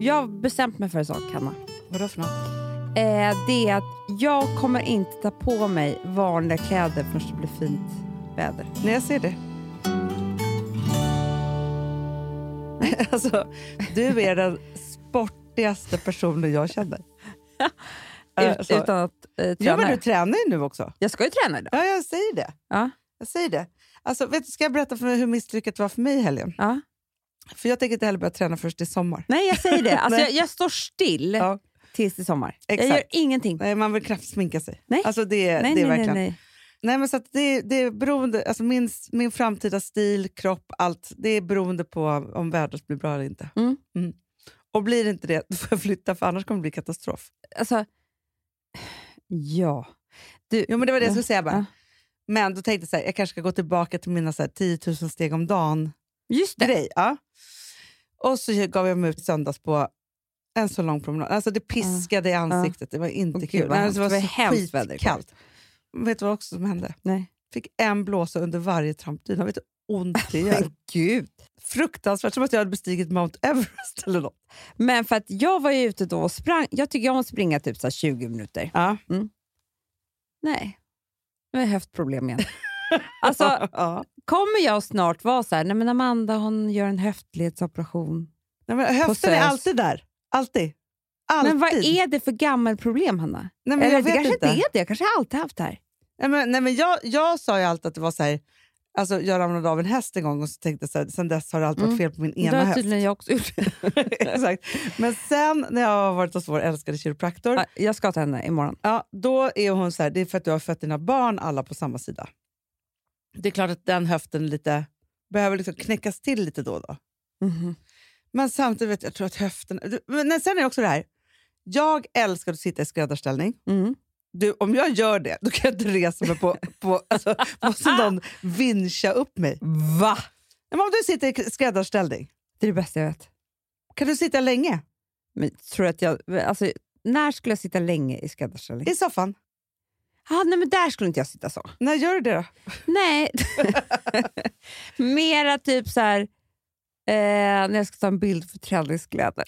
Jag har bestämt mig för en sak, Hanna. Vadå för något? Eh, det är att jag kommer inte ta på mig vanliga kläder förrän det blir fint väder. Nej, jag ser det. alltså, du är den sportigaste personen jag känner. Ut, Alltså, utan att eh, ja, träna. men du tränar ju nu också. Jag ska ju träna idag. Ja, jag säger det. Ja. Jag säger det. Alltså, vet du, ska jag berätta för mig hur misslyckat var för mig i helgen? Ja. För jag tänker inte heller börja träna först i sommar. Nej, jag säger det. Alltså, Nej. jag, jag står still Ja. tills i sommar. Exakt. Jag gör ingenting. Nej, man vill knappt sminka sig. Nej. Alltså, det, är- nej, det är nej, nej, verkligen... nej. Nej, men så att det, det är beroende, alltså min, min framtida stil, kropp, allt, det är beroende på om vädret blir bra eller inte. Mm. Och blir det inte det, då får jag flytta för annars kommer det bli katastrof. Alltså, ja. Du, Jo, men det var det jag skulle säga bara. Ja. Men då tänkte jag så här, jag kanske ska gå tillbaka till mina så här, 10 000 steg om dagen-grej. just det. Ja. Och så gav jag mig ut i söndags på en så lång promenad. Alltså det piskade i ansiktet, det var inte Åh, gud, kul. vad Nej, hemskt. det var, Det var så hemskt väder igår. skitkallt. Vet du vad också som hände? Nej. Fick en blåsa under varje trampdyna. Vet du hur ont det gör? Men gud. fruktansvärt, som att jag hade bestigit Mount Everest eller något. Men för att jag var ju ute då och sprang. Jag tycker jag måste springa typ så här 20 minuter. Ja. Nej, nu har jag höftproblem igen. alltså, ja. kommer jag snart vara så här, nej men Amanda hon gör en höftledsoperation. Nej, men höften är Possess. alltid där. Alltid. alltid. Men vad är det för gammelproblem Hanna? nej, men Eller jag det vet kanske inte. inte är det, jag kanske alltid haft det här. Nej, men, nej, men jag, jag sa ju alltid att det var så här, alltså, jag ramlade av en häst en gång och så tänkte jag så här, sen dess har det alltid varit fel på min Mm. det ena har höft. tydligen jag också gjort. Exakt. Men sen när jag har varit hos vår älskade kiropraktor, Ja, jag ska till henne imorgon. ja, då är hon så här, det är för att du har fött dina barn alla på samma sida. Det är klart att den höften lite, behöver liksom knäckas till lite då och då. Mhm. Men samtidigt, vet jag, jag tror att höften... du- Men nej, sen är det också det här. Jag älskar att sitta i skräddarställning. Mm. Du, om jag gör det, då kan jag inte resa mig på... på alltså, måste någon vincha upp mig. Va? Men om du sitter i skräddarställning, Det är det bästa jag vet. kan du sitta länge Men, tror du att jag, alltså, när skulle jag sitta länge i skräddarställning? i soffan? Ah, nej men där skulle inte jag sitta så. När gör du det då? Nej. Mera typ så här, eh, när jag ska ta en bild för träningskläder.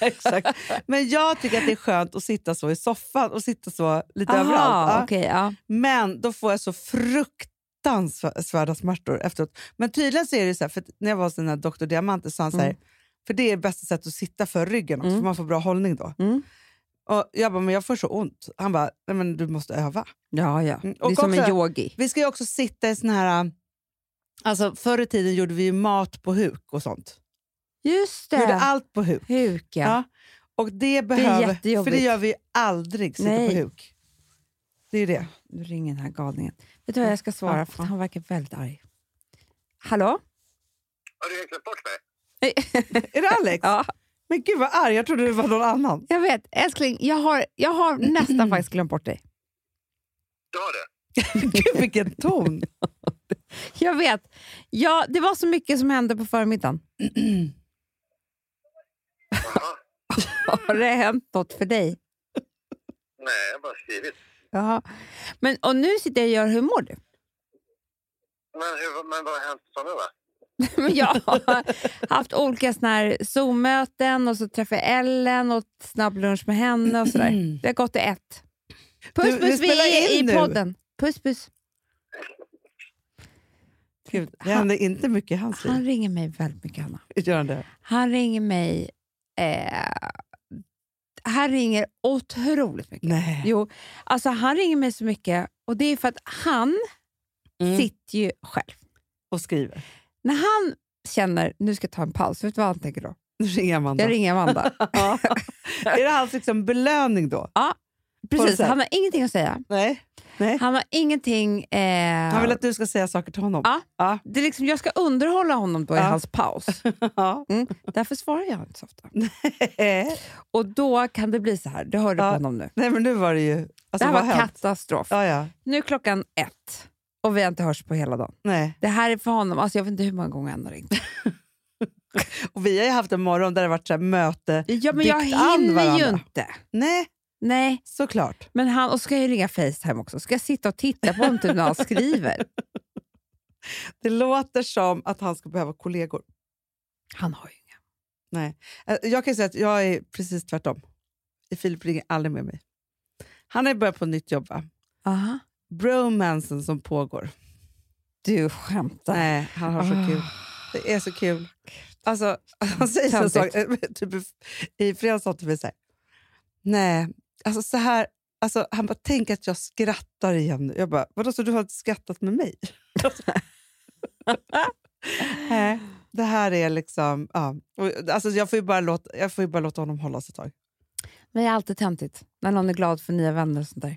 Exakt. Men jag tycker att det är skönt att sitta så i soffan och sitta så lite Aha, överallt. Ja. okej, ja. Men då får jag så fruktansvärda smärtor efteråt. Men tydligen så är det så här, för att när jag var hos den här Dr. Diamante så sa han så här, för det är bästa sättet att sitta för ryggen också, Mm. för man får bra hållning då. Mm. Och jag bara, men jag får så ont. Han bara, nej men du måste öva. ja, ja. Mm, det är och som en också- yogi. Vi ska ju också sitta i sån här, alltså förr i tiden gjorde vi ju mat på huk och sånt. Just Vi gjorde det. allt på huk. Huk, ja. Ja. Och det behöver, för det jättejobbigt. gör vi ju aldrig, sitta Nej. på huk. Det är ju det. Nu ringer den här galningen. Vet du vad jag ska svara? Ja, För ja. han verkar väldigt arg. Hallå? Har du glömt bort mig? Är det Alex? Ja, Men gud vad arg, jag trodde det var någon annan. jag vet. Älskling, jag har, jag har Mm. nästan faktiskt glömt bort dig. Du har det? Gud, vilken ton! Jag vet. Ja, det var så mycket som hände på förmiddagen. Jaha. Har det hänt något för dig? Nej, jag har bara skrivit. Jaha. Men, och nu sitter jag och gör Hur mår du? Men, hur, men vad har hänt på sommaren? va? Men jag har haft olika såna här Zoom-möten och så träffade jag Ellen och åt snabb lunch med henne och Mm. sådär. Det har gått till ett. Du- Puss vi puss, vi spelar är in i nu. podden. Puss puss. Gud, det händer inte mycket i hans Han liv. ringer mig väldigt mycket, Hanna. Gör han det? Han ringer mig... Eh, han ringer otroligt mycket. Nej. Jo, alltså han ringer mig så mycket och det är för att han sitter ju själv. Mm. Och skriver. När han känner nu ska jag ta en paus, vet du vad han tänker då? Nu ringer Amanda. Jag ringer Amanda. Ja. är det hans liksom belöning då? Precis, sätt. han har ingenting att säga. Nej. Nej. Han har ingenting... Eh, Han vill att du ska säga saker till honom. Ja. det är liksom, jag ska underhålla honom då i Ja. hans paus. Ja. Mm. Därför svarar jag inte så ofta. Eh, Och då kan det bli så här, du hörde Ja. på honom nu. Nej, men nu var det ju... Det Alltså, här vad var har hänt? katastrof. Ja, ja. Nu är klockan ett och vi har inte hörts på hela dagen. Nej. Det här är för honom, alltså jag vet inte hur många gånger han har ringt. Och vi har ju haft en morgon där det har varit så här möte. Ja, men Byggt jag an hinner ju varandra. inte. Nej, Nej, såklart. men han, och ska jag ju ringa Facetime också. Ska jag sitta och titta på honom typ när han skriver? Det låter som att han ska behöva kollegor. Han har ju inga. Nej. Eh, Jag kan säga att jag är precis tvärtom. Filip ringer aldrig med mig. Han har ju börjat på nytt jobb va? Aha. Bromansen som pågår. Du skämtar. Nej, han har Ah. så kul. Det är så kul. Alltså, Mm. han säger en sak. Typ, i- I fredags sa han till mig så här. Nej, alltså så här. Alltså, han bara, tänk att jag skrattar igen nu. Jag bara, vadå så du har inte skrattat med mig? Nej, det här är liksom, ja. Och, Alltså, jag, får ju bara låta, jag får ju bara låta honom hålla sig ett tag. Men det är alltid töntigt när någon är glad för nya vänner och sånt där.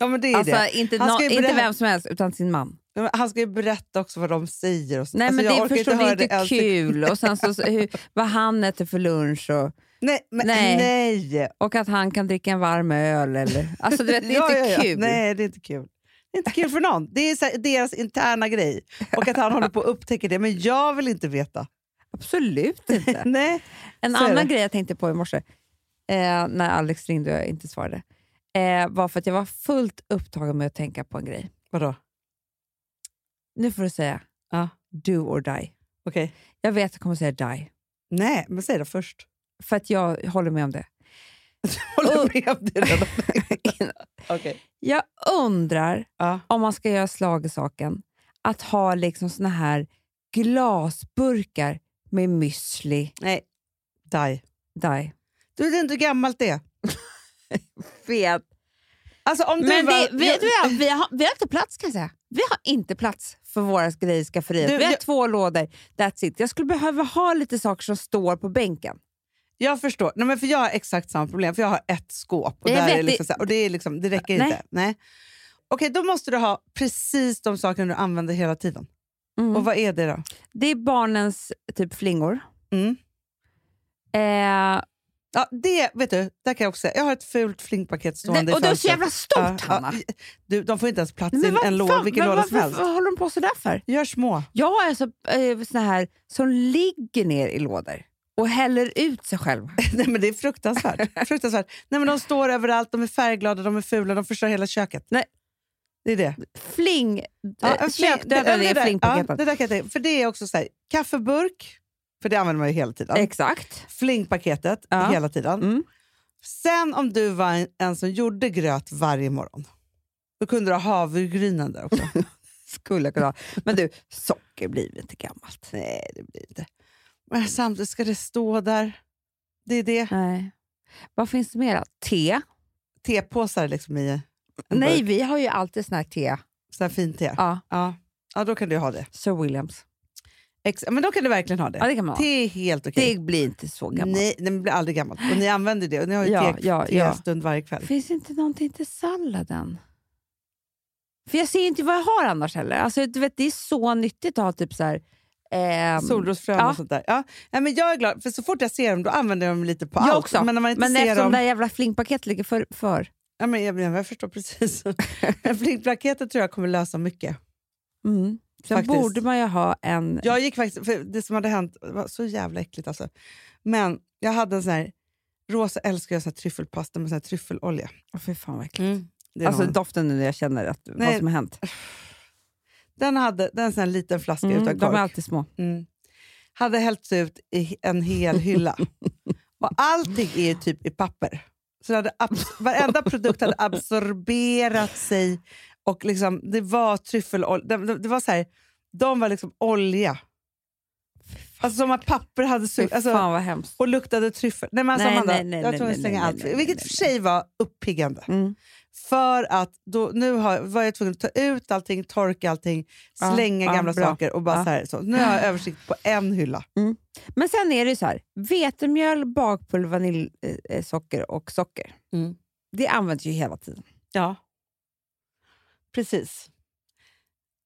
Ja, men det är Alltså, det. inte, Han nå- ska ju inte berätta- vem som helst, utan sin man. Ja, men Han ska ju berätta också vad de säger. Och så. Nej, Alltså, men jag det, orkar förstår, det är inte höra Alltså- en sekund. kul. Och sen så, så, hur, vad han äter för lunch och, Nej, men, Nej. nej. och att han kan dricka en varm öl. Eller, alltså, du vet, det är inte kul. Nej, det är inte kul. Det är inte kul för någon. Det är så här, deras interna grej. Och att han håller på att upptäcka det. Men jag vill inte veta. Absolut inte. Nej. En Så är annan det. grej jag tänkte på i morse, eh, när Alex ringde och jag inte svarade, eh, var för att jag var fullt upptagen med att tänka på en grej. Vadå? Nu får du säga Ja. do or die. Okej. Jag vet att jag kommer säga die, Nej, men säg det först. för att jag håller med om det. Håller Och- med om det redan. Okej. Jag undrar Ja. om man ska göra slag i saken, att ha liksom såna här glasburkar med müsli. Nej. Die. Die. Du vet inte hur gammalt det är. Vet. Alltså, om du Men var, vi, vi, du vet, vi, har, vi har inte plats kan jag säga. Vi har inte plats för våra grejer i skafferiet. Du, Vi har jag- två lådor, that's it. Jag skulle behöva ha lite saker som står på bänken. Jag förstår. Nej, men för Jag har exakt samma problem, för jag har ett skåp. Och, Jag där vet, är liksom det- så här, och det, är liksom, det räcker Nej. inte. Nej. Okej, då måste du ha precis de sakerna du använder hela tiden. Mm. Och vad är det då? Det är barnens typ flingor. Mm. Eh, Ja, det vet du, där kan jag också säga. Jag har ett fult flingpaket stående det, och det är så fönstret. jävla stort, Ja, Hanna! ja. Du, de får inte ens plats Nej, i men vad en låda, fan, vilken vad- låda som varför helst. håller de på sådär för? Gör små. Jag är så, eh, sån här som ligger ner i lådor och häller ut sig själv. Nej, men det är fruktansvärt. fruktansvärt. Nej, men de står överallt, de är färgglada, de är fula, de förstör hela köket. Nej. Eh, Det är det. Fling... Ja, eh, en fling- Köpdöda det- det det är där- ja, flingpaketet. det där kan jag tänka- För det är också så här, kaffeburk, för det använder man ju hela tiden. Exakt. Flingpaketet Ja. hela tiden. Mm. Sen om du var en, en som gjorde gröt varje morgon, då kunde du ha havregrynen där också. Skulle jag kunna ha. Men du, socker blir lite gammalt. Nej, det blir inte. Men samtidigt ska det stå där. Det är det. Nej. Vad finns det mer? Te? Tepåsar liksom i en Nej, burk. vi har ju alltid sån här te. Sån här fint te. Ja, Ja. ja, då kan du ha det. Sir Williams. Ex- men då kan du verkligen ha det. Ja, det kan man ha. Te är helt okej. Det blir inte så gammalt. Nej, det blir aldrig gammalt. Och ni använder det och ni har ju Ja, te, ja, ja. stund varje kväll. Finns det inte någonting till salladen? För jag ser inte vad jag har annars heller. Alltså, du vet, det är så nyttigt att ha typ så här... ehm, Solrosfrön ja. och sånt där. Ja. Nej, men jag är glad, för så fort jag ser dem då använder jag dem lite på Jag allt. också. Men när man inte men ser eftersom dem... det där jävla flingpaketet ligger för... för. Ja, men jag, jag förstår precis. Men Flingplaketet tror jag kommer lösa mycket. Mm. Sen Faktiskt. borde man ju ha en... Jag gick faktiskt, för det som hade hänt det var så jävla äckligt alltså. Men jag hade en sån här, Rosa älskar ju sån här tryffelpasta med sån här tryffelolja. Åh, fy fan vad äckligt. Det är Alltså någon. doften nu när jag känner att, vad Mm. Nej, som har hänt. den hade den sån här liten flaska Mm, utan de är kork. alltid små. Mm. Hade hällts ut i en hel hylla. Och allting är ju typ i papper. Så det hade abs- varenda produkt hade absorberat sig och liksom, det var tryffelolja. Det, det, det var så här, de var liksom olja. Alltså som att papper hade Fy sugit. Alltså, fan vad hemskt. och luktade tryffel. Nej, men alltså, Nej, Amanda, nej, nej, jag tror nej, jag slänger nej, allt. nej, nej, vilket nej, för sig var uppiggande. Mm. För att då, nu har, var jag tvungen att ta ut allting, torka allting, Ja, slänga ja, gamla bra. saker och bara Ja. så här. Så. Nu har jag översikt på en hylla. Men sen är det ju så här, vetemjöl, bakpulver, vaniljsocker och eh, socker. Mm. Det används ju hela tiden. Ja. Precis.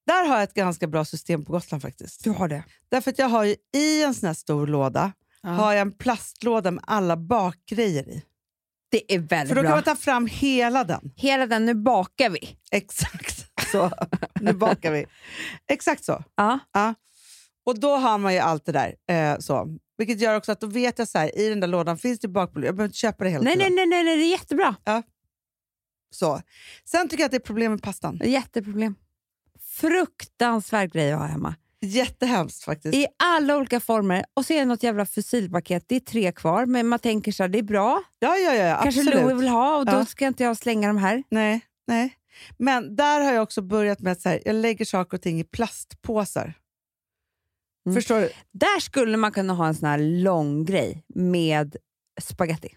Där har jag ett ganska bra system på Gotland faktiskt. Du har det? Därför att jag har ju i en sån här stor låda, har jag en plastlåda med alla bakgrejer i. Det är väldigt För då bra. kan man ta fram hela den. Hela den, nu bakar vi. Exakt så. nu bakar vi. Exakt så. Ja. Ja. Och då har man ju allt det där. Eh, så. Vilket gör också att då vet jag så här, i den där lådan finns det bakpulver. Jag behöver inte köpa det hela Nej, tiden. nej, nej, nej, nej, det är jättebra. Så. Sen tycker jag att det är problem med pastan. Jätteproblem. Fruktansvärd grej att ha hemma. Jättehemskt faktiskt. I alla olika former. Och så är det något jävla fossilpaket. Det är tre kvar, men man tänker så här, det är bra. Ja, ja, ja, Kanske absolut. Louis vill ha och då Ja. ska inte jag slänga de här. Nej, nej. Men där har jag också börjat med att så här, jag lägger saker och ting i plastpåsar. Mm. Förstår du? Där skulle man kunna ha en sån här lång grej med spaghetti.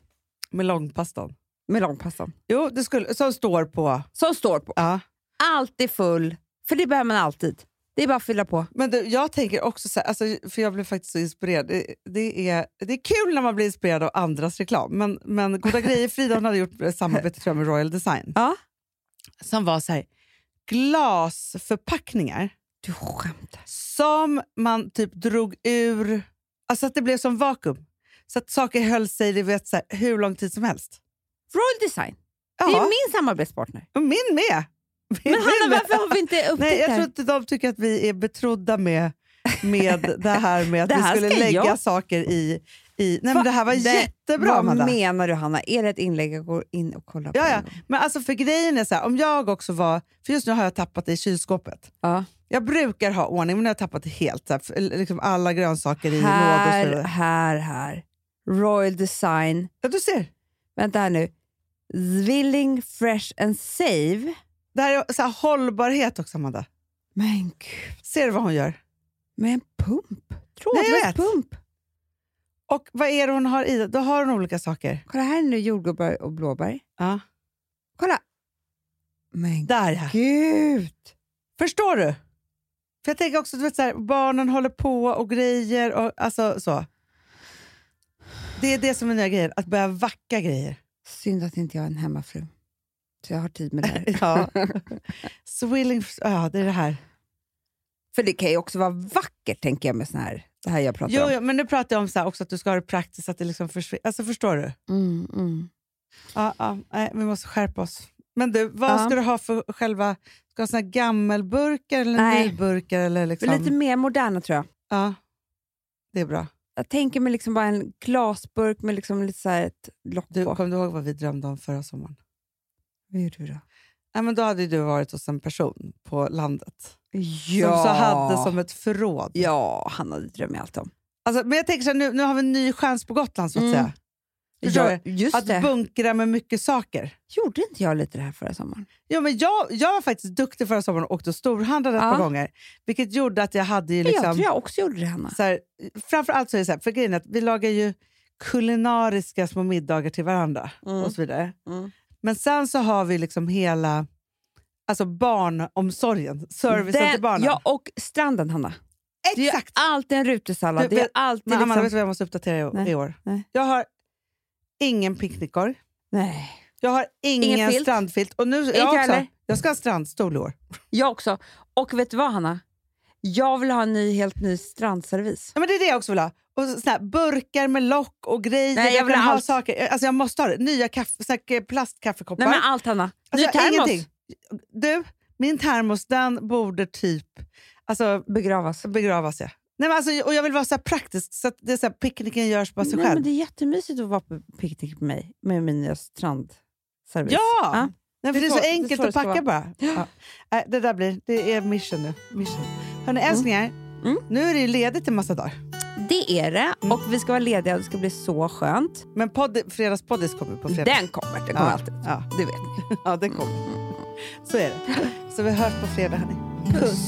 Med långpastan. Med långpastan. Jo, det skulle, som står på. Som står på. Ja. Alltid full, för det behöver man alltid. Det är bara att fylla på. Men du, jag tänker också så här, alltså, för jag blev faktiskt så inspirerad. Det, det, är, det är kul när man blir inspirerad av andras reklam, men, men Goda Grejer, Frida hon hade gjort ett samarbete tror jag, med Royal Design. Ja. Som var så här, glasförpackningar Du skämtar. som man typ drog ur, alltså att det blev som vakuum. Så att saker höll sig du vet, så här, hur lång tid som helst. Royal Design, det är Ja, min samarbetspartner. och min med! Min Men Hanna, med. varför har vi inte upptäckt Nej, jag det tror här? inte de tycker att vi är betrodda med, med det här med att Det här vi ska skulle lägga jag. saker i... i Va? nej, men det här var Det- jättebra, Vad Amanda. menar du Hanna? Är det ett inlägg jag går in och kollar Ja, på? ja. Men alltså för grejen är så här, om jag också var... För just nu har jag tappat det i kylskåpet. Ja. Jag brukar ha ordning, men nu har jag tappat det helt. Så här, för- liksom alla grönsaker i lådor och så Här, vidare. här, här. Royal Design. Ja, du ser. Vänta här nu. Zwilling Fresh and Save. Det här är så här, hållbarhet också, Amanda. Men gud, Ser du vad hon gör? med en pump. Nej, jag Trådlös vet. pump. Och vad är det hon har i? Då har hon olika saker. Kolla här är nu, jordgubbar och blåbär. Ja. Kolla. Men Där ja. gud. Förstår du? För jag tänker också, du vet, så här, barnen håller på och grejer. Och, alltså, så. Det är det som är nya grejer, att börja vacka grejer. Synd att inte jag är en hemmafru. Så jag har tid med det här. Ja. Swilling, ja, det är det här. För det kan ju också vara vackert, tänker jag, med sån här. Det här jag pratar Jo, om. jo, men nu pratar jag om så här också att du ska ha det praktiskt, att det liksom försvinner. Alltså, förstår du? Mm, mm. Ja, ja, nej, vi måste skärpa oss. Men du, vad Ja. ska du ha för själva... Ska du ha såna här gammelburkar eller Nej. nyburkar? Eller liksom? Lite mer moderna, tror jag. Ja, det är bra. Jag tänker mig liksom bara en glasburk med liksom lite så här ett lock Du, på. Kommer du ihåg vad vi drömde om förra sommaren? Vad gjorde du då? Nej, men då hade ju du varit hos en person på landet Ja. som så hade som ett förråd. Ja, Hanna, det drömmer jag alltid om. Alltså, men jag tänker så här, nu, nu har vi en ny chans på Gotland. så att Mm. säga. Förstår Ja, just Att det. bunkra med mycket saker. Gjorde inte jag lite det här förra sommaren? Ja, men jag, jag var faktiskt duktig förra sommaren och åkte och storhandlade ett Ja. par gånger. Vilket gjorde att jag hade ju Jag liksom... tror jag också gjorde det, Hanna. Så här, framförallt så är det så här, för grejen är att vi lagar ju kulinariska små middagar till varandra Mm. och så vidare. Mm. Men sen så har vi liksom hela alltså barnomsorgen, servicen Den- till barnen. Ja, och stranden, Hanna. Det är ju Exakt! alltid en rutesallad. Du, Det är vet- alltid Men Amanda, liksom... vet du vad jag måste uppdatera i, Nej. i år? Nej. Jag har ingen picknickkorg. Nej. Jag har ingen Ingen filt. strandfilt. Och nu, jag jag, också, heller. jag ska ha strandstol i år. Jag också. Och vet du vad, Hanna? Jag vill ha en ny, helt ny strandservis. Ja, men det är det jag också vill ha. Och så- såna här burkar med lock och grejer. Nej, jag kan vill ha ha allt. saker. Alltså, jag måste ha det. Nya kaffe, såna här plastkaffekoppar. Nej, men allt, Hanna. Ny Alltså, termos. ingenting. Du, min termos den borde typ alltså, Begravas. begravas. Jag. Nej, men alltså, och jag vill vara så här praktisk så att det är så här, picknicken görs bara sig Nej, men själv. det är jättemysigt att vara på picknick med mig, med min eh, nya strandservis. Ja! Ja. Nej, för det är Det så, är så- det är enkelt så det att ska packa bara. Ja. Nej, Det där blir, det är mission nu. Mission. Hörni, älsklingar. Mm. Nu är det ju ledigt en massa dagar. Det är det. Och vi ska vara lediga och det ska bli så skönt. Men podd, fredagspoddis kommer på fredag. Den kommer, den kommer ja. alltid. Ja, Det vet ni. ja den kommer. Så är det. Så vi hörs på fredag, hörni. Puss.